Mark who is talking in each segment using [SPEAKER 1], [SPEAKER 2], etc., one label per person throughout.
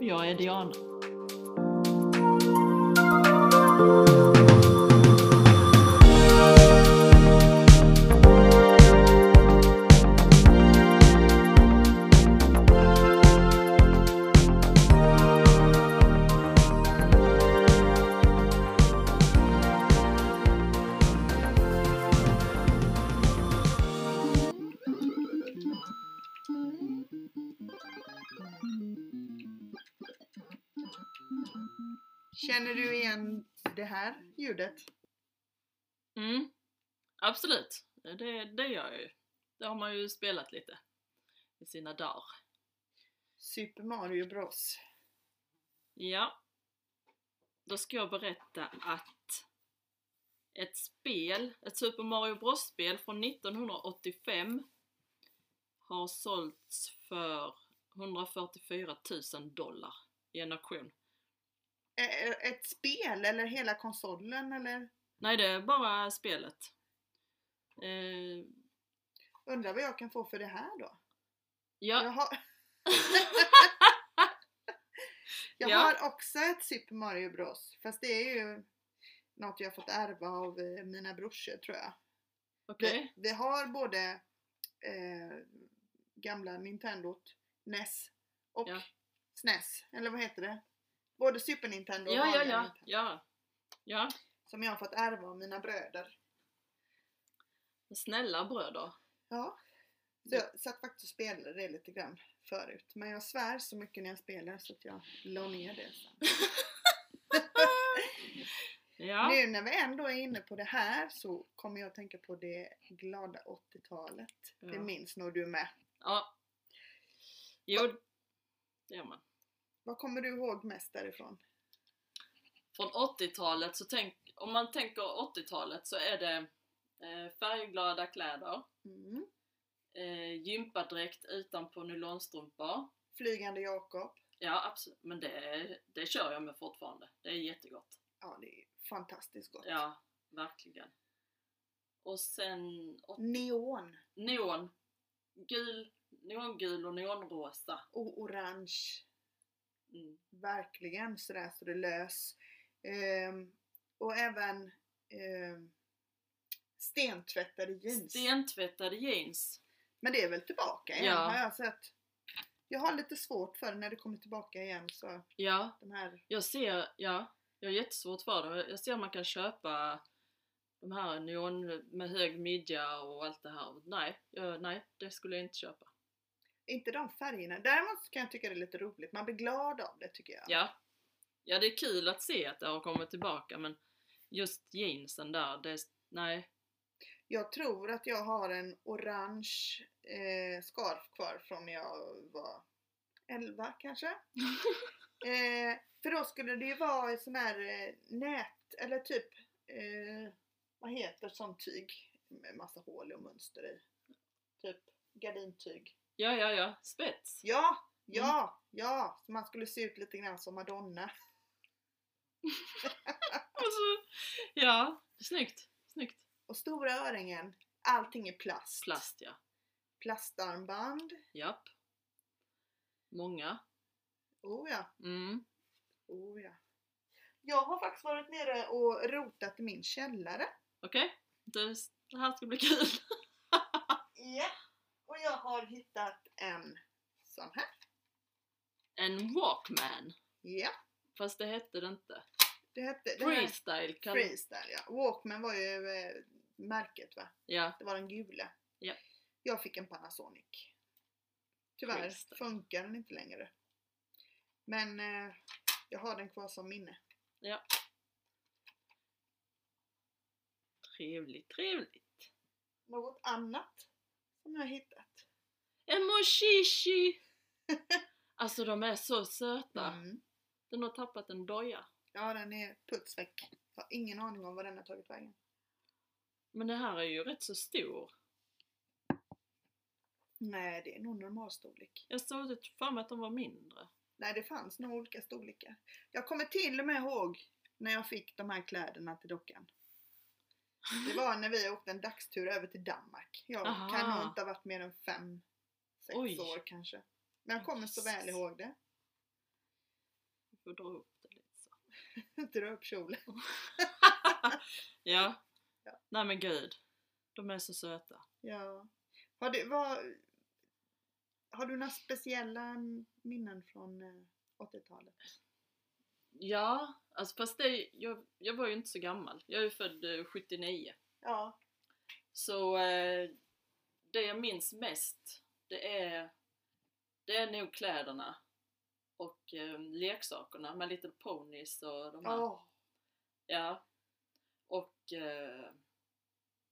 [SPEAKER 1] Jag är Diana.
[SPEAKER 2] Känner du igen det här ljudet?
[SPEAKER 1] Mm, absolut. Det, det gör jag ju. Det har man ju spelat lite i sina dagar.
[SPEAKER 2] Super Mario Bros.
[SPEAKER 1] Ja. Då ska jag berätta att ett spel, ett Super Mario Bros-spel från 1985 har sålts för 144 000 dollar i en auktion.
[SPEAKER 2] Ä- ä- Ett spel eller hela konsolen eller?
[SPEAKER 1] Nej, det är bara spelet. Eh,
[SPEAKER 2] Undrar vad jag kan få för det här då?
[SPEAKER 1] ja,
[SPEAKER 2] Jag har, jag
[SPEAKER 1] Ja.
[SPEAKER 2] har också ett Super Mario Bros. Fast det är ju något jag fått ärva av eh, mina brorsor tror jag.
[SPEAKER 1] okej.
[SPEAKER 2] Vi, vi har både eh, gamla Nintendot, NES och
[SPEAKER 1] Ja.
[SPEAKER 2] SNES, eller vad heter det? Både Super Nintendo och
[SPEAKER 1] Ja, ja,
[SPEAKER 2] vanliga
[SPEAKER 1] ja,
[SPEAKER 2] Nintendo,
[SPEAKER 1] ja. Ja,
[SPEAKER 2] som jag har fått ärva av mina bröder.
[SPEAKER 1] snälla bröder.
[SPEAKER 2] Ja. Så jag satt faktiskt och spelade det lite grann förut. Men jag svär så mycket när jag spelar så att jag la ner det sen.
[SPEAKER 1] Ja,
[SPEAKER 2] Nu när vi ändå är inne på det här så kommer jag att tänka på det glada 80-talet. Det
[SPEAKER 1] Ja.
[SPEAKER 2] minns nog du med.
[SPEAKER 1] ja. Jo, det gör man.
[SPEAKER 2] Vad kommer du ihåg mest därifrån?
[SPEAKER 1] från 80-talet så tänk, om man tänker 80-talet så är det eh, färgglada kläder,
[SPEAKER 2] Mm.
[SPEAKER 1] eh, gympadräkt utanpå nylonstrumpor.
[SPEAKER 2] Flygande Jakob.
[SPEAKER 1] Ja absolut, men det, det kör jag med fortfarande. Det är jättegott.
[SPEAKER 2] Ja, det är fantastiskt gott.
[SPEAKER 1] Ja, verkligen. Och sen åt-
[SPEAKER 2] Neon
[SPEAKER 1] neon, gul, neongul och neonrosa.
[SPEAKER 2] och Oh, orange.
[SPEAKER 1] Mm.
[SPEAKER 2] Verkligen sådär så det lös. Ehm, och även ehm, stentvättade jeans.
[SPEAKER 1] Stentvättade jeans.
[SPEAKER 2] Men det är väl tillbaka igen
[SPEAKER 1] Ja.
[SPEAKER 2] har jag sett. Jag har lite svårt för det när det kommer tillbaka igen så
[SPEAKER 1] Ja,
[SPEAKER 2] de här
[SPEAKER 1] Jag ser, ja, jag har jättesvårt för det. Jag ser att man kan köpa de här neon med hög midja och allt det här. Nej, jag, nej, det skulle jag inte köpa.
[SPEAKER 2] inte de färgerna. Däremot så kan jag tycka det är lite roligt. Man blir glad av det tycker jag.
[SPEAKER 1] Ja. ja, det är kul att se att det har kommit tillbaka men just jeansen där, det, nej.
[SPEAKER 2] Jag tror att jag har en orange eh, scarf kvar från när jag var 11 kanske. eh, för då skulle det ju vara i sån här eh, nät, eller typ, eh, vad heter sånt tyg med massa hål och mönster i? Typ gardintyg.
[SPEAKER 1] Ja, ja, ja, spets.
[SPEAKER 2] Ja, ja, ja! Så man skulle se ut lite grann som Madonna.
[SPEAKER 1] Alltså, ja, snyggt, snyggt.
[SPEAKER 2] Och stora öringen, allting är plast.
[SPEAKER 1] Plast ja,
[SPEAKER 2] Plastarmband,
[SPEAKER 1] japp. Många.
[SPEAKER 2] oh ja.
[SPEAKER 1] Mm.
[SPEAKER 2] Oh, ja. Jag har faktiskt varit nere och rotat i min källare.
[SPEAKER 1] Okej, det, det här ska bli kul.
[SPEAKER 2] Ja. Och jag har hittat en sån här.
[SPEAKER 1] En walkman.
[SPEAKER 2] Ja.
[SPEAKER 1] Fast det hette det inte.
[SPEAKER 2] Det hette... det här-
[SPEAKER 1] Freestyle kan...
[SPEAKER 2] Freestyle ja. Walkman var ju eh, märket va?
[SPEAKER 1] Ja,
[SPEAKER 2] Det var den gula.
[SPEAKER 1] Ja.
[SPEAKER 2] Jag fick en Panasonic. Tyvärr
[SPEAKER 1] Freestyle.
[SPEAKER 2] funkar den inte längre. Men eh, jag har den kvar som minne.
[SPEAKER 1] trevligt, trevligt.
[SPEAKER 2] Något annat som jag har hittat.
[SPEAKER 1] En moshishi! alltså de är så söta.
[SPEAKER 2] Mm.
[SPEAKER 1] Den har tappat en doja.
[SPEAKER 2] Ja den är putsväck. Jag har ingen aning om var den har tagit vägen.
[SPEAKER 1] Men det här är ju rätt så stor.
[SPEAKER 2] Nej, det är nog normalstorlek.
[SPEAKER 1] Jag såg ut för mig att de var mindre.
[SPEAKER 2] Nej, det fanns nog olika storlekar. Jag kommer till och med ihåg när jag fick de här kläderna till dockan. Det var när vi åkte en dagstur över till Danmark. Jag
[SPEAKER 1] Aha.
[SPEAKER 2] kan nog inte ha varit mer än fem, sex
[SPEAKER 1] Oj.
[SPEAKER 2] år kanske. Men jag kommer så väl
[SPEAKER 1] Jesus.
[SPEAKER 2] ihåg det.
[SPEAKER 1] får dra upp det lite så.
[SPEAKER 2] Dra upp kjolen.
[SPEAKER 1] Ja.
[SPEAKER 2] Ja.
[SPEAKER 1] Nej men gud. De är så söta.
[SPEAKER 2] Ja. Har du, vad, har du några speciella minnen från eh, 80-talet?
[SPEAKER 1] Ja, alltså fast det, jag, jag var ju inte så gammal. Jag är ju född eh, 79.
[SPEAKER 2] Ja.
[SPEAKER 1] Så eh, det jag minns mest det är, det är nog kläderna och eh, leksakerna med Little Ponies och de här.
[SPEAKER 2] Åh,
[SPEAKER 1] Ja. Och eh,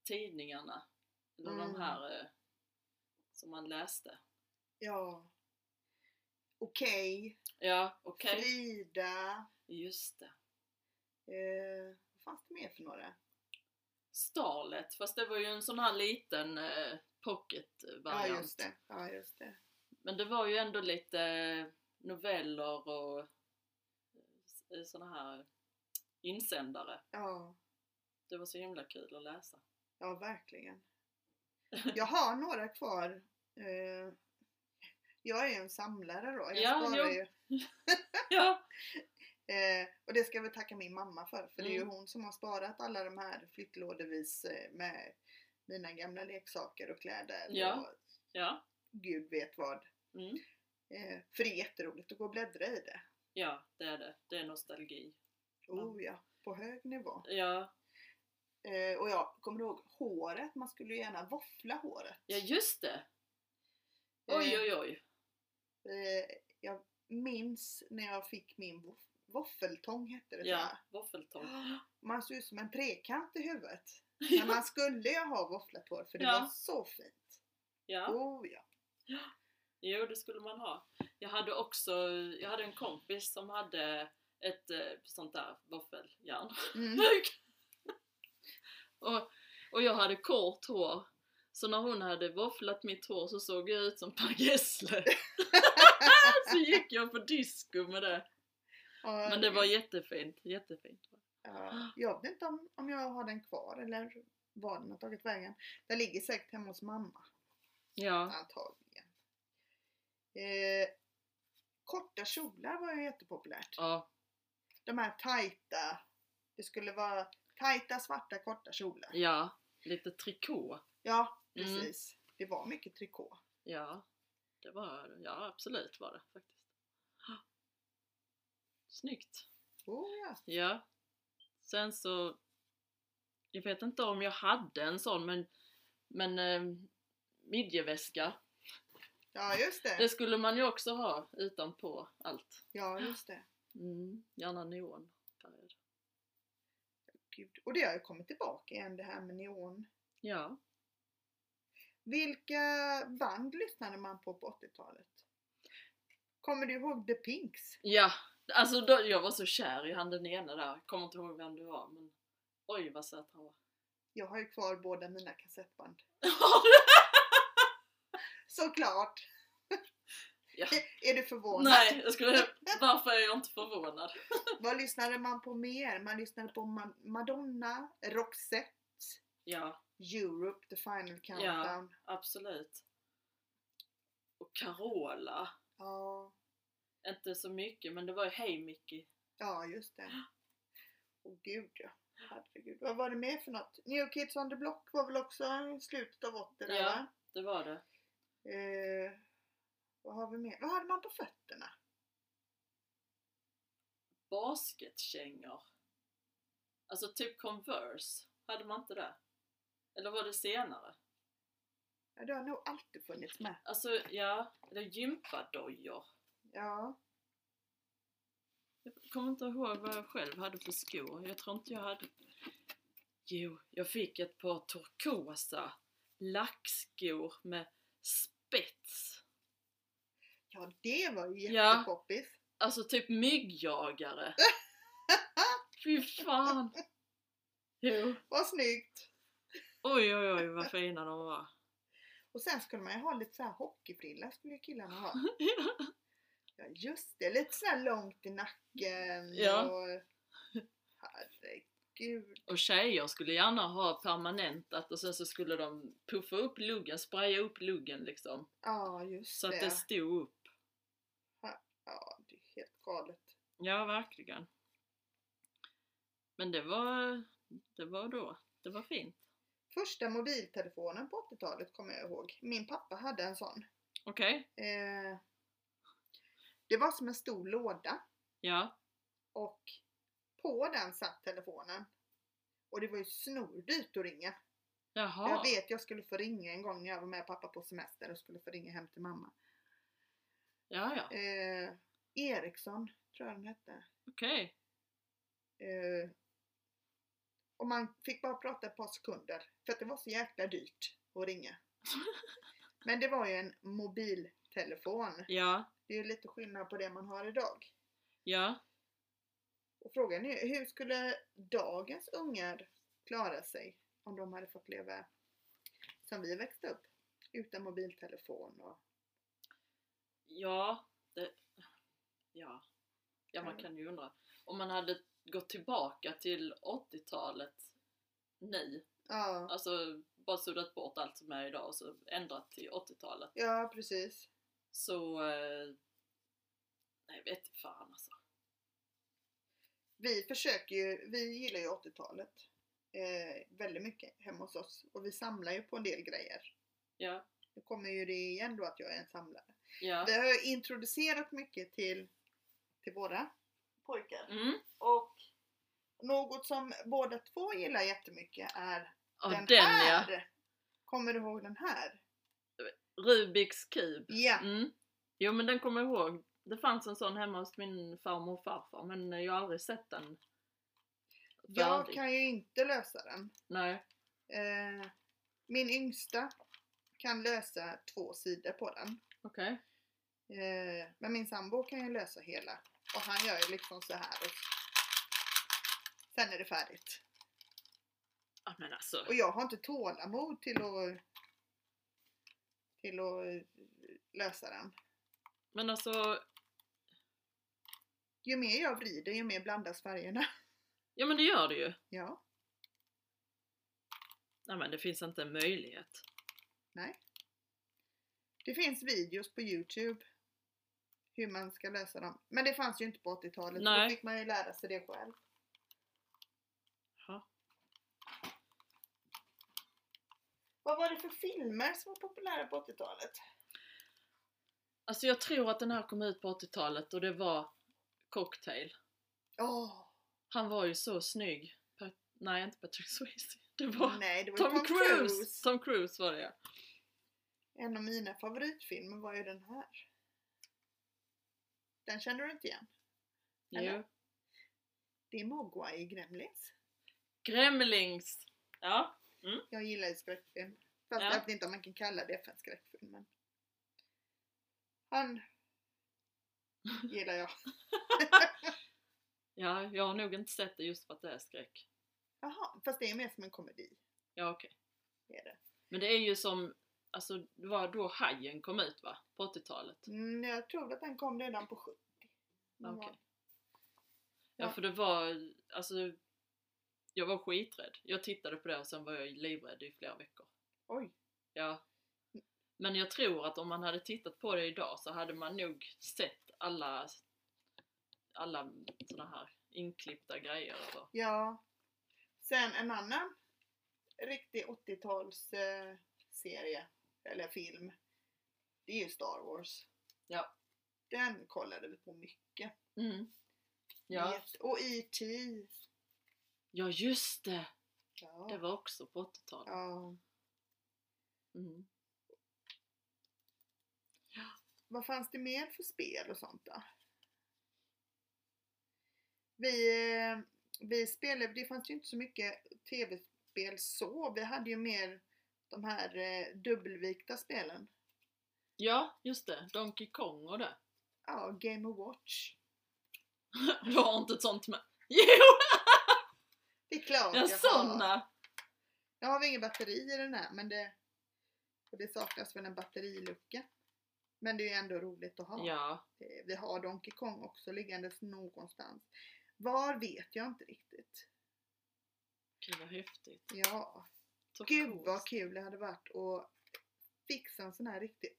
[SPEAKER 1] tidningarna. Eller de
[SPEAKER 2] Mm.
[SPEAKER 1] här eh, som man läste.
[SPEAKER 2] ja. Okej.
[SPEAKER 1] Ja, okej.
[SPEAKER 2] Frida.
[SPEAKER 1] Just det.
[SPEAKER 2] Eh, vad fanns det mer för några?
[SPEAKER 1] Starlet, fast det var ju en sån här liten eh,
[SPEAKER 2] Ja,
[SPEAKER 1] pocket-variant.
[SPEAKER 2] just det. Ja, just det.
[SPEAKER 1] Men det var ju ändå lite eh, noveller och eh, såna här insändare.
[SPEAKER 2] Ja.
[SPEAKER 1] Det var så himla kul att läsa.
[SPEAKER 2] Ja, verkligen. Jag har några kvar. Eh, Jag är ju en samlare då. Jag
[SPEAKER 1] Ja,
[SPEAKER 2] sparar
[SPEAKER 1] jo.
[SPEAKER 2] ju.
[SPEAKER 1] Ja!
[SPEAKER 2] Eh, Och det ska jag väl tacka min mamma för. För det är ju
[SPEAKER 1] Mm.
[SPEAKER 2] hon som har sparat alla de här flyttlådevis eh, med mina gamla leksaker och kläder.
[SPEAKER 1] Ja.
[SPEAKER 2] Och
[SPEAKER 1] Ja.
[SPEAKER 2] gud vet vad.
[SPEAKER 1] Mm.
[SPEAKER 2] Eh, För det är jätteroligt att gå och bläddra i det.
[SPEAKER 1] Ja, det är det. Det är nostalgi.
[SPEAKER 2] Oh ja, på hög nivå.
[SPEAKER 1] Ja,
[SPEAKER 2] Eh, Och jag kommer ihåg håret. Man skulle ju gärna våffla håret.
[SPEAKER 1] ja just det! Oj,
[SPEAKER 2] Eh,
[SPEAKER 1] oj, oj.
[SPEAKER 2] Eh, jag minns när jag fick min våff- våffeltång hette det
[SPEAKER 1] Ja,
[SPEAKER 2] tror
[SPEAKER 1] våffeltång.
[SPEAKER 2] jag. Man såg ut som en trekant i huvudet. Men man skulle ju ha våfflat hår för det
[SPEAKER 1] Ja.
[SPEAKER 2] var så fint.
[SPEAKER 1] Ja,
[SPEAKER 2] Oh ja.
[SPEAKER 1] jo det skulle man ha. Jag hade också, jag hade en kompis som hade ett eh, sånt där våffeljärn.
[SPEAKER 2] Mm.
[SPEAKER 1] Mörk. och, och jag hade kort hår. Så när hon hade våfflat mitt hår så såg jag ut som Per Gessle. så gick jag på disco med det.
[SPEAKER 2] Ja,
[SPEAKER 1] Men det var jättefint, jättefint.
[SPEAKER 2] ja. Jag vet inte om, om jag har den kvar eller var den har tagit vägen. Den ligger säkert hemma hos mamma
[SPEAKER 1] Ja,
[SPEAKER 2] antagligen. Eh, korta kjolar var ju jättepopulärt.
[SPEAKER 1] ja,
[SPEAKER 2] De här tajta. Det skulle vara tajta svarta korta kjolar.
[SPEAKER 1] ja. lite trikå.
[SPEAKER 2] Ja,
[SPEAKER 1] Mm.
[SPEAKER 2] precis. Det var mycket trikå.
[SPEAKER 1] Ja, det var ja absolut var det faktiskt. Snyggt!
[SPEAKER 2] Oh, ja.
[SPEAKER 1] Ja. Sen så, jag vet inte om jag hade en sån men, men eh, midjeväska,
[SPEAKER 2] ja, just det.
[SPEAKER 1] det skulle man ju också ha utanpå allt.
[SPEAKER 2] Ja, just det.
[SPEAKER 1] Mm, gärna neon.
[SPEAKER 2] Gud. Och det har ju kommit tillbaka igen det här med neon.
[SPEAKER 1] Ja.
[SPEAKER 2] Vilka band lyssnade man på på 80-talet? Kommer du ihåg The Pinks?
[SPEAKER 1] Ja, alltså då, jag var så kär i han den ena där, kommer inte ihåg vem det var men oj vad söt han var.
[SPEAKER 2] Jag har ju kvar båda mina kassettband. Såklart!
[SPEAKER 1] ja.
[SPEAKER 2] Är du förvånad?
[SPEAKER 1] Nej, jag skulle, varför är jag inte förvånad?
[SPEAKER 2] Vad lyssnade man på mer? Man lyssnade på Ma- Madonna, Roxette,
[SPEAKER 1] Ja,
[SPEAKER 2] Europe, The Final Countdown.
[SPEAKER 1] absolut. Och Carola.
[SPEAKER 2] Ja,
[SPEAKER 1] Inte så mycket, men det var ju Hej Mickey.
[SPEAKER 2] ja just det. Åh gud ja. Herregud. Vad var det mer för något? New Kids on the Block var väl också i slutet av 80 där,
[SPEAKER 1] Ja.
[SPEAKER 2] va?
[SPEAKER 1] Det var det.
[SPEAKER 2] Eh, vad har vi mer? Vad hade man på fötterna?
[SPEAKER 1] Basketkängor. Alltså typ Converse. Hade man inte det? Eller var det senare?
[SPEAKER 2] Ja, det har nog alltid funnits med.
[SPEAKER 1] Alltså, ja. Eller gympadojor.
[SPEAKER 2] Ja.
[SPEAKER 1] Jag kommer inte ihåg vad jag själv hade för skor. Jag tror inte jag hade... Jo, jag fick ett par turkosa lackskor med spets.
[SPEAKER 2] ja, det var ju
[SPEAKER 1] Ja.
[SPEAKER 2] jättepoppis.
[SPEAKER 1] Alltså typ myggjagare. Fy fan. Jo.
[SPEAKER 2] Vad snyggt!
[SPEAKER 1] Oj oj oj vad fina de var.
[SPEAKER 2] Och sen skulle man ju ha lite så här hockeyfrilla skulle ju killarna ha. Ja just det, lite så här långt i nacken
[SPEAKER 1] Ja.
[SPEAKER 2] och... Herregud.
[SPEAKER 1] Och tjejer skulle gärna ha permanentat och sen så skulle de puffa upp luggen, spraya upp luggen liksom.
[SPEAKER 2] Ja just
[SPEAKER 1] Så att det
[SPEAKER 2] det.
[SPEAKER 1] stod upp.
[SPEAKER 2] Ja, det är helt galet.
[SPEAKER 1] Ja, verkligen. Men det var, det var då. Det var fint.
[SPEAKER 2] Första mobiltelefonen på 80-talet kommer jag ihåg. Min pappa hade en sån.
[SPEAKER 1] Okej,
[SPEAKER 2] Eh, det var som en stor låda
[SPEAKER 1] ja.
[SPEAKER 2] och på den satt telefonen. Och det var ju snordyrt att ringa.
[SPEAKER 1] Jaha.
[SPEAKER 2] Jag vet jag skulle få ringa en gång när jag var med pappa på semester och skulle få ringa hem till mamma.
[SPEAKER 1] Ja, ja.
[SPEAKER 2] Eh, Eriksson tror jag den hette.
[SPEAKER 1] Okej.
[SPEAKER 2] Eh, och man fick bara prata ett par sekunder för att det var så jäkla dyrt att ringa. Men det var ju en mobiltelefon.
[SPEAKER 1] Ja,
[SPEAKER 2] Det är ju lite skillnad på det man har idag.
[SPEAKER 1] ja.
[SPEAKER 2] Och frågan är hur skulle dagens ungar klara sig om de hade fått leva som vi växte upp? Utan mobiltelefon och...
[SPEAKER 1] Ja, det, ja. ja, man
[SPEAKER 2] Ja.
[SPEAKER 1] kan ju undra. Om man hade gått tillbaka till 80-talet nu,
[SPEAKER 2] Ja,
[SPEAKER 1] alltså bara suddat bort allt som är idag och så ändrat till 80-talet,
[SPEAKER 2] ja precis.
[SPEAKER 1] så... Eh, nej, vet inte fan alltså.
[SPEAKER 2] Vi försöker ju, vi gillar ju 80-talet eh, väldigt mycket hemma hos oss och vi samlar ju på en del grejer.
[SPEAKER 1] Ja,
[SPEAKER 2] Nu kommer ju det igen då att jag är en samlare.
[SPEAKER 1] ja.
[SPEAKER 2] Vi har ju introducerat mycket till, till våra pojkar.
[SPEAKER 1] Mm.
[SPEAKER 2] Och något som båda två gillar jättemycket är
[SPEAKER 1] Ja,
[SPEAKER 2] den,
[SPEAKER 1] den
[SPEAKER 2] här!
[SPEAKER 1] ja.
[SPEAKER 2] Kommer du ihåg den här?
[SPEAKER 1] Rubiks kub.
[SPEAKER 2] Ja,
[SPEAKER 1] Mm. Jo, men den kommer jag ihåg. Det fanns en sån hemma hos min farmor och farfar, men jag har aldrig sett den.
[SPEAKER 2] jag
[SPEAKER 1] färdig.
[SPEAKER 2] kan ju inte lösa den.
[SPEAKER 1] Nej.
[SPEAKER 2] Eh, min yngsta kan lösa två sidor på den.
[SPEAKER 1] Okej.
[SPEAKER 2] Eh, men min sambo kan ju lösa hela. Och han gör ju liksom så här. Och sen är det färdigt.
[SPEAKER 1] Ja, men alltså.
[SPEAKER 2] Och jag har inte tålamod till att till att eh, lösa den.
[SPEAKER 1] Men alltså,
[SPEAKER 2] Ju mer jag vrider, ju mer blandas färgerna.
[SPEAKER 1] ja men det gör det ju.
[SPEAKER 2] Ja,
[SPEAKER 1] Nej men det finns inte en möjlighet.
[SPEAKER 2] det finns videos på Youtube hur man ska lösa dem. Men det fanns ju inte på 80-talet, så då
[SPEAKER 1] Nej.
[SPEAKER 2] fick man ju lära sig det själv.
[SPEAKER 1] Ja.
[SPEAKER 2] Vad var det för filmer som var populära på 80-talet?
[SPEAKER 1] Alltså jag tror att den här kom ut på 80-talet och det var Cocktail.
[SPEAKER 2] Åh!
[SPEAKER 1] Han var ju så snygg. Pat- Nej, inte Patrick Swayze. Det var
[SPEAKER 2] nej, det var ju
[SPEAKER 1] Tom, Cruise. Tom Cruise var det ja.
[SPEAKER 2] En av mina favoritfilmer var ju den här. Den känner du inte igen? Eller?
[SPEAKER 1] Jo.
[SPEAKER 2] Det är Mogwai i Gremlins.
[SPEAKER 1] Gremlings. Ja.
[SPEAKER 2] Jag gillar ju skräckfilm. Fast
[SPEAKER 1] Ja.
[SPEAKER 2] jag vet inte om man kan kalla det för en skräckfilm. Men... Han gillar jag.
[SPEAKER 1] ja, jag har nog inte sett det just för att det är skräck.
[SPEAKER 2] Jaha, fast det är mer som en komedi.
[SPEAKER 1] Ja okej.
[SPEAKER 2] det Är det.
[SPEAKER 1] Men det är ju som, alltså det var då Hajen kom ut va? På 80-talet.
[SPEAKER 2] Mm, jag tror att den kom redan på 70.
[SPEAKER 1] Okej.
[SPEAKER 2] Någon gång.
[SPEAKER 1] Ja,
[SPEAKER 2] Ja.
[SPEAKER 1] för det var, alltså jag var skiträdd. Jag tittade på det och sen var jag livrädd i flera veckor.
[SPEAKER 2] Oj,
[SPEAKER 1] Ja. Men jag tror att om man hade tittat på det idag så hade man nog sett alla alla såna här inklippta grejer och så.
[SPEAKER 2] ja. Sen en annan riktig 80-tals eh, serie eller film. Det är ju Star Wars.
[SPEAKER 1] Ja.
[SPEAKER 2] Den kollade vi på mycket.
[SPEAKER 1] Mm. Ja.
[SPEAKER 2] Jätte- Och E E.T.
[SPEAKER 1] ja, just det!
[SPEAKER 2] Ja.
[SPEAKER 1] Det var också på 80-talet.
[SPEAKER 2] ja.
[SPEAKER 1] Mm.
[SPEAKER 2] Vad fanns det mer för spel och sånt då? Vi, eh, vi spelade, det fanns ju inte så mycket tv-spel så. Vi hade ju mer de här eh, dubbelvikta spelen.
[SPEAKER 1] Ja, just det. Donkey Kong och det.
[SPEAKER 2] Ja, Game Watch.
[SPEAKER 1] Du har inte ett sånt med? Jo!
[SPEAKER 2] Det är klart
[SPEAKER 1] Ja,
[SPEAKER 2] har.
[SPEAKER 1] såna!
[SPEAKER 2] Jag har ingen batteri i den här men det, och det saknas väl en batterilucka. Men det är ju ändå roligt att ha.
[SPEAKER 1] Ja.
[SPEAKER 2] Eh, Vi har Donkey Kong också liggandes någonstans. Var vet jag inte riktigt.
[SPEAKER 1] Gud vad häftigt.
[SPEAKER 2] Ja,
[SPEAKER 1] Så
[SPEAKER 2] gud
[SPEAKER 1] coolt.
[SPEAKER 2] vad kul det hade varit att fixa en sån här riktig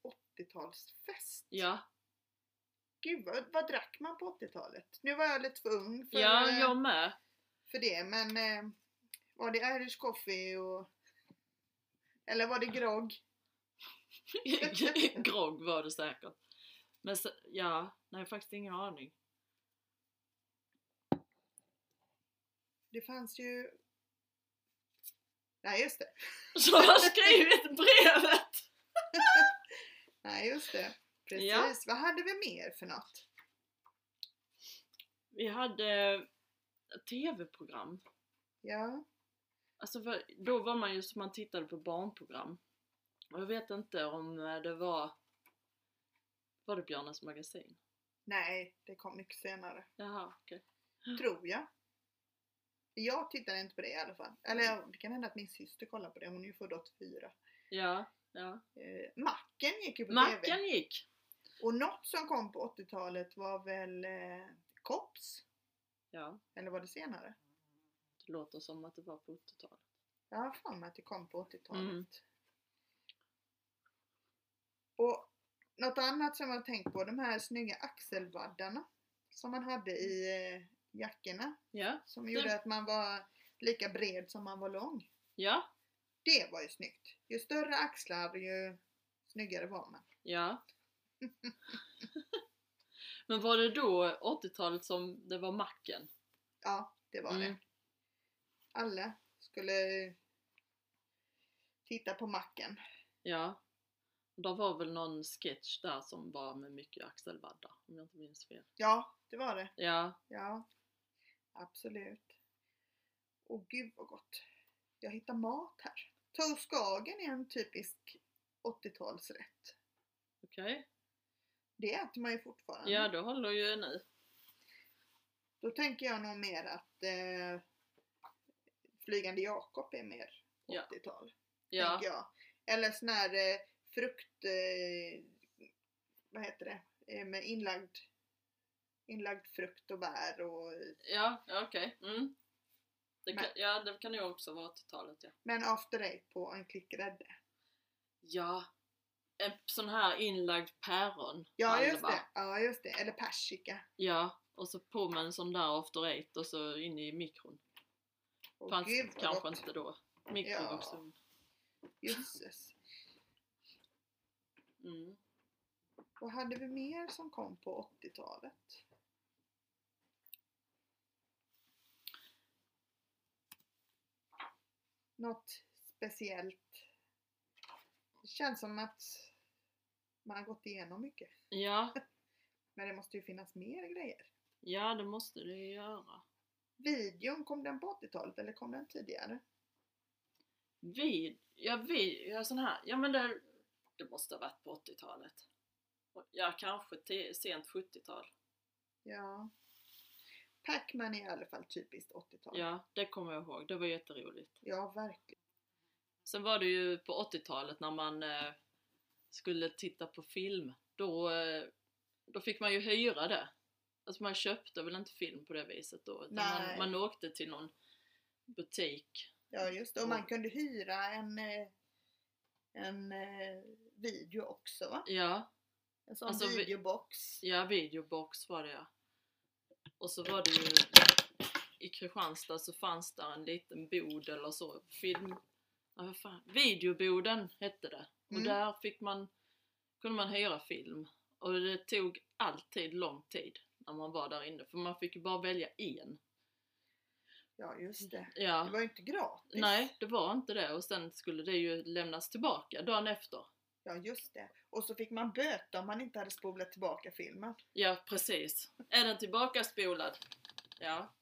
[SPEAKER 2] 80-talsfest.
[SPEAKER 1] Ja,
[SPEAKER 2] Gud vad, vad drack man på 80-talet? Nu var jag lite för ung för,
[SPEAKER 1] Ja,
[SPEAKER 2] eh,
[SPEAKER 1] jag med.
[SPEAKER 2] för det men eh, var det Irish coffee och eller var det grogg?
[SPEAKER 1] Grogg var det säkert. Men så, ja, nej faktiskt ingen aning.
[SPEAKER 2] Det fanns ju... Nej just det.
[SPEAKER 1] Så jag har skrivit brevet!
[SPEAKER 2] Nej just det. Precis.
[SPEAKER 1] Ja.
[SPEAKER 2] Vad hade vi mer för något?
[SPEAKER 1] Vi hade ett tv-program.
[SPEAKER 2] Ja.
[SPEAKER 1] Alltså för, då var man ju som man tittade på barnprogram. Och jag vet inte om eh, det var... Var det Björnes magasin?
[SPEAKER 2] Nej, det kom mycket senare.
[SPEAKER 1] Jaha, okej.
[SPEAKER 2] Tror jag. Jag tittade inte på det i alla fall. Eller ja, det kan hända att min syster kollar på det. Hon är ju född 84.
[SPEAKER 1] Ja, ja.
[SPEAKER 2] Eh, macken gick ju på TV.
[SPEAKER 1] Mackan gick!
[SPEAKER 2] Och något som kom på 80-talet var väl eh, Kops?
[SPEAKER 1] Ja,
[SPEAKER 2] Eller var det senare?
[SPEAKER 1] det låter som att det var på 80-talet.
[SPEAKER 2] Jag har för mig att det kom på 80-talet.
[SPEAKER 1] Mm.
[SPEAKER 2] Och något annat som jag har tänkt på, de här snygga axelvaddarna som man hade i eh, jackorna
[SPEAKER 1] Ja,
[SPEAKER 2] som gjorde
[SPEAKER 1] Det-
[SPEAKER 2] att man var lika bred som man var lång.
[SPEAKER 1] ja,
[SPEAKER 2] Det var ju snyggt! Ju större axlar ju snyggare var man.
[SPEAKER 1] ja. Men var det då 80-talet som det var macken?
[SPEAKER 2] Ja, det var det.
[SPEAKER 1] Mm.
[SPEAKER 2] Alla skulle titta på macken.
[SPEAKER 1] Ja. Det var väl någon sketch där som var med mycket axelvaddar om jag inte minns fel.
[SPEAKER 2] Ja, det var det.
[SPEAKER 1] Ja,
[SPEAKER 2] Ja, absolut. Och gud vad gott. Jag hittar mat här. Toastskagen är en typisk 80-talsrätt.
[SPEAKER 1] okej.
[SPEAKER 2] Det äter man ju fortfarande.
[SPEAKER 1] Ja, det håller ju nu.
[SPEAKER 2] Då tänker jag nog mer att eh, Flygande Jakob är mer
[SPEAKER 1] Ja.
[SPEAKER 2] 80-tal.
[SPEAKER 1] Ja,
[SPEAKER 2] tänker jag. Eller sån här eh, frukt... Eh, vad heter det? Eh, med inlagd, inlagd frukt och bär och...
[SPEAKER 1] ja, ja okej. Mm. Det kan, ja, det kan ju också vara 80-talet ja.
[SPEAKER 2] Men after eight på en klickgrädde.
[SPEAKER 1] Ja, en sån här inlagd päron.
[SPEAKER 2] Ja
[SPEAKER 1] hade
[SPEAKER 2] just
[SPEAKER 1] va?
[SPEAKER 2] det. ja just det, eller persika.
[SPEAKER 1] Ja, och så på med en sån där after eight och så in i mikron.
[SPEAKER 2] Åh,
[SPEAKER 1] Fanns
[SPEAKER 2] gud, vad
[SPEAKER 1] kanske
[SPEAKER 2] gott.
[SPEAKER 1] inte då. Mikrovågsugn.
[SPEAKER 2] Jösses.
[SPEAKER 1] Mm.
[SPEAKER 2] Vad hade vi mer som kom på 80-talet? Något speciellt. Det känns som att man har gått igenom mycket.
[SPEAKER 1] Ja,
[SPEAKER 2] Men det måste ju finnas mer grejer.
[SPEAKER 1] ja det måste det ju göra.
[SPEAKER 2] Videon, kom den på 80-talet eller kom den tidigare?
[SPEAKER 1] Vid, ja vi, ja sån här, ja men det, det måste ha varit på 80-talet. Och- Ja kanske till, sent 70-tal.
[SPEAKER 2] Ja. Pac-Man är i alla fall typiskt 80-tal.
[SPEAKER 1] Ja, det kommer jag ihåg. Det var jätteroligt.
[SPEAKER 2] ja, verkligen.
[SPEAKER 1] Sen var det ju på 80-talet när man eh, skulle titta på film. Då, eh, då fick man ju hyra det. Alltså man köpte väl inte film på det viset då. Utan
[SPEAKER 2] Nej.
[SPEAKER 1] man, man åkte till någon butik.
[SPEAKER 2] Ja, just det. Och man kunde hyra en, eh, en eh, video också va?
[SPEAKER 1] Ja,
[SPEAKER 2] En sån
[SPEAKER 1] Alltså, vi-
[SPEAKER 2] videobox.
[SPEAKER 1] ja videobox var det ja. Och så var det ju i Kristianstad så fanns där en liten bod eller så. Film... Ja, vad fan? Videoboden hette det. Och
[SPEAKER 2] Mm.
[SPEAKER 1] där fick man, kunde man hyra film. Och det tog alltid lång tid när man var där inne. För man fick ju bara välja en.
[SPEAKER 2] Ja, just det. Det
[SPEAKER 1] Ja.
[SPEAKER 2] var ju inte gratis.
[SPEAKER 1] Nej, det var inte det. Och sen skulle det ju lämnas tillbaka dagen efter.
[SPEAKER 2] Ja, just det. Och så fick man böta om man inte hade spolat tillbaka filmen.
[SPEAKER 1] Ja, precis. Är den tillbaka spolad? Ja.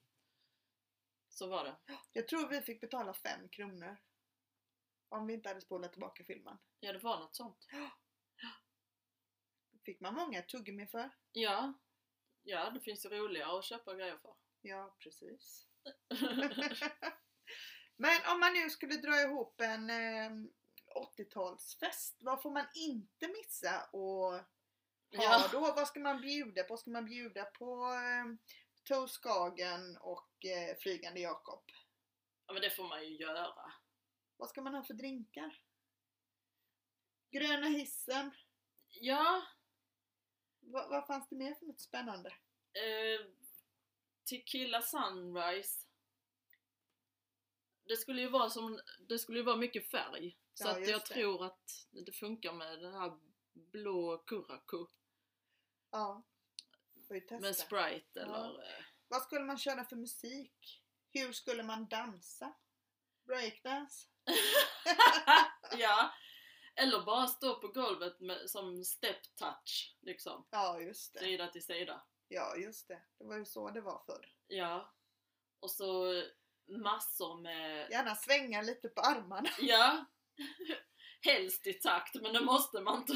[SPEAKER 1] Så var det.
[SPEAKER 2] Jag tror vi fick betala 5 kronor. Om vi inte hade spolat tillbaka filmen.
[SPEAKER 1] Ja, det var något sånt.
[SPEAKER 2] Fick man många tuggummi för?
[SPEAKER 1] Ja. Ja, det finns ju roligare att köpa grejer för.
[SPEAKER 2] Ja, precis. Men om man nu skulle dra ihop en eh, 80-talsfest, vad får man inte missa och ha
[SPEAKER 1] Ja.
[SPEAKER 2] då? Vad ska man bjuda på? Ska man bjuda på eh, Toskagen och eh, Flygande Jakob?
[SPEAKER 1] ja, men det får man ju göra.
[SPEAKER 2] Vad ska man ha för drinkar? Gröna hissen?
[SPEAKER 1] Ja.
[SPEAKER 2] Vad, vad fanns det mer för något spännande?
[SPEAKER 1] Eh, Tequila Sunrise. Det skulle ju vara, som, det skulle ju vara mycket färg. Så
[SPEAKER 2] Ja,
[SPEAKER 1] att
[SPEAKER 2] just
[SPEAKER 1] jag
[SPEAKER 2] det.
[SPEAKER 1] tror att det funkar med den här blå curacao
[SPEAKER 2] Ja. Får ju testa.
[SPEAKER 1] med Sprite
[SPEAKER 2] Ja.
[SPEAKER 1] eller... eh,
[SPEAKER 2] Vad skulle man köra för musik? Hur skulle man dansa? Breakdance?
[SPEAKER 1] ja! Eller bara stå på golvet med, som step touch liksom.
[SPEAKER 2] Ja, just det.
[SPEAKER 1] Sida till sida.
[SPEAKER 2] Ja, just det. Det var ju så det var förr.
[SPEAKER 1] Ja. Och så eh, massor med
[SPEAKER 2] Gärna svänga lite på armarna.
[SPEAKER 1] Ja. Helst i takt, men det måste man inte.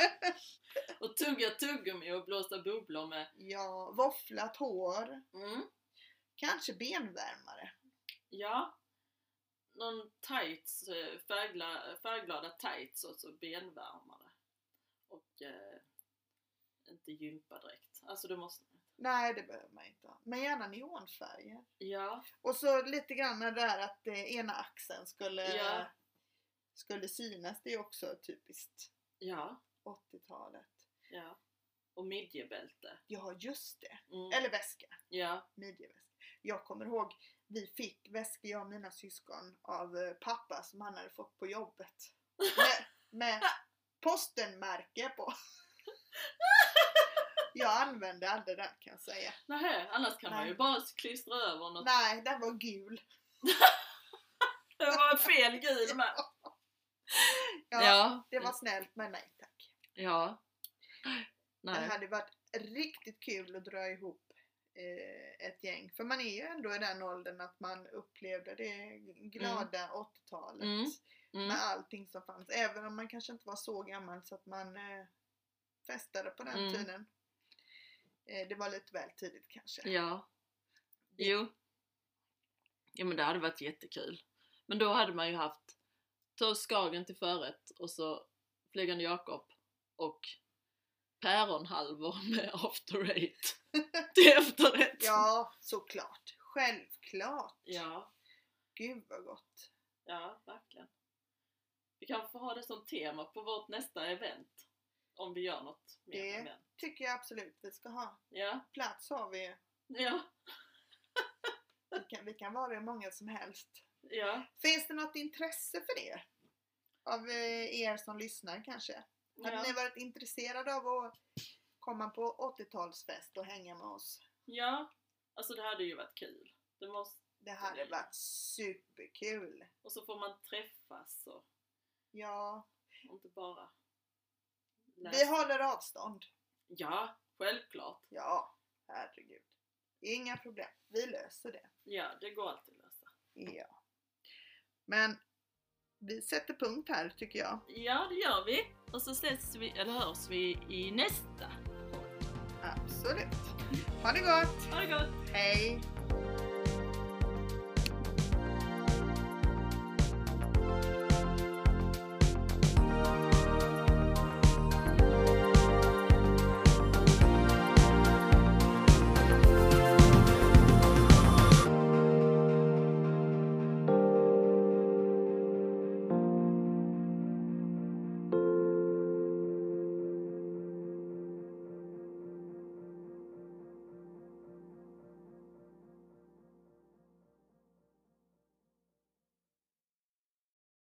[SPEAKER 1] och tugga tuggummi och blåsa bubblor med.
[SPEAKER 2] Ja, våfflat hår.
[SPEAKER 1] Mm.
[SPEAKER 2] Kanske benvärmare.
[SPEAKER 1] Ja. Någon tights, eh, färgla, färgglada tights och så benvärmare. Och eh, inte gympadräkt. Alltså du måste...
[SPEAKER 2] Nej, det behöver man inte ha. Men gärna neonfärger.
[SPEAKER 1] Ja.
[SPEAKER 2] Och så lite grann det där att eh, ena axeln skulle,
[SPEAKER 1] Ja.
[SPEAKER 2] skulle synas. Det är också typiskt
[SPEAKER 1] Ja.
[SPEAKER 2] 80-talet.
[SPEAKER 1] Ja. Och midjebälte.
[SPEAKER 2] Ja, just det.
[SPEAKER 1] Mm.
[SPEAKER 2] Eller väska.
[SPEAKER 1] Ja.
[SPEAKER 2] midjeväska. Jag kommer ihåg, vi fick väskor jag och mina syskon av eh, pappa som han hade fått på jobbet. Med, med postenmärke på. Jag använde aldrig den kan jag säga.
[SPEAKER 1] Nähä, annars kan man
[SPEAKER 2] Nej.
[SPEAKER 1] ju bara klistra över något.
[SPEAKER 2] Nej, den var gul.
[SPEAKER 1] Det var fel gul med.
[SPEAKER 2] Ja, Det
[SPEAKER 1] Mm.
[SPEAKER 2] var snällt men nej tack.
[SPEAKER 1] Ja. Nej.
[SPEAKER 2] Det hade varit riktigt kul att dra ihop eh, ett gäng. För man är ju ändå i den åldern att man upplevde det glada 80-talet.
[SPEAKER 1] Mm. Mm.
[SPEAKER 2] med allting som fanns. Även om man kanske inte var så gammal så att man eh, festade på den
[SPEAKER 1] Mm.
[SPEAKER 2] tiden. Eh, det var lite väl tidigt kanske.
[SPEAKER 1] Ja. Jo. Ja men det hade varit jättekul. Men då hade man ju haft Toast Skagen till förrätt och så Flygande Jakob och päronhalvor med after eight till efterrätt.
[SPEAKER 2] Ja, såklart. Självklart.
[SPEAKER 1] ja,
[SPEAKER 2] Gud vad gott.
[SPEAKER 1] ja, verkligen. Vi kan få ha det som tema på vårt nästa event. Om vi gör något mer
[SPEAKER 2] Det-
[SPEAKER 1] event.
[SPEAKER 2] Tycker jag absolut vi ska ha.
[SPEAKER 1] Ja,
[SPEAKER 2] Plats har vi.
[SPEAKER 1] ja,
[SPEAKER 2] Vi kan, vi kan vara hur många som helst.
[SPEAKER 1] ja.
[SPEAKER 2] Finns det något intresse för det? Av eh, er som lyssnar kanske? Hade
[SPEAKER 1] ja.
[SPEAKER 2] ni varit intresserade av att komma på 80-talsfest och hänga med oss?
[SPEAKER 1] Ja, alltså det hade ju varit kul. Det måste,
[SPEAKER 2] Det hade varit superkul!
[SPEAKER 1] och så får man träffas och,
[SPEAKER 2] Ja,
[SPEAKER 1] och inte bara
[SPEAKER 2] vi håller avstånd.
[SPEAKER 1] Ja, självklart.
[SPEAKER 2] Ja, herregud. Inga problem. Vi löser det.
[SPEAKER 1] Ja, det går alltid att lösa.
[SPEAKER 2] Ja. Men vi sätter punkt här tycker jag.
[SPEAKER 1] Ja, det gör vi. Och så ses vi, eller hörs vi i nästa.
[SPEAKER 2] Absolut. Ha det gott!
[SPEAKER 1] Ha det gott!
[SPEAKER 2] Hej!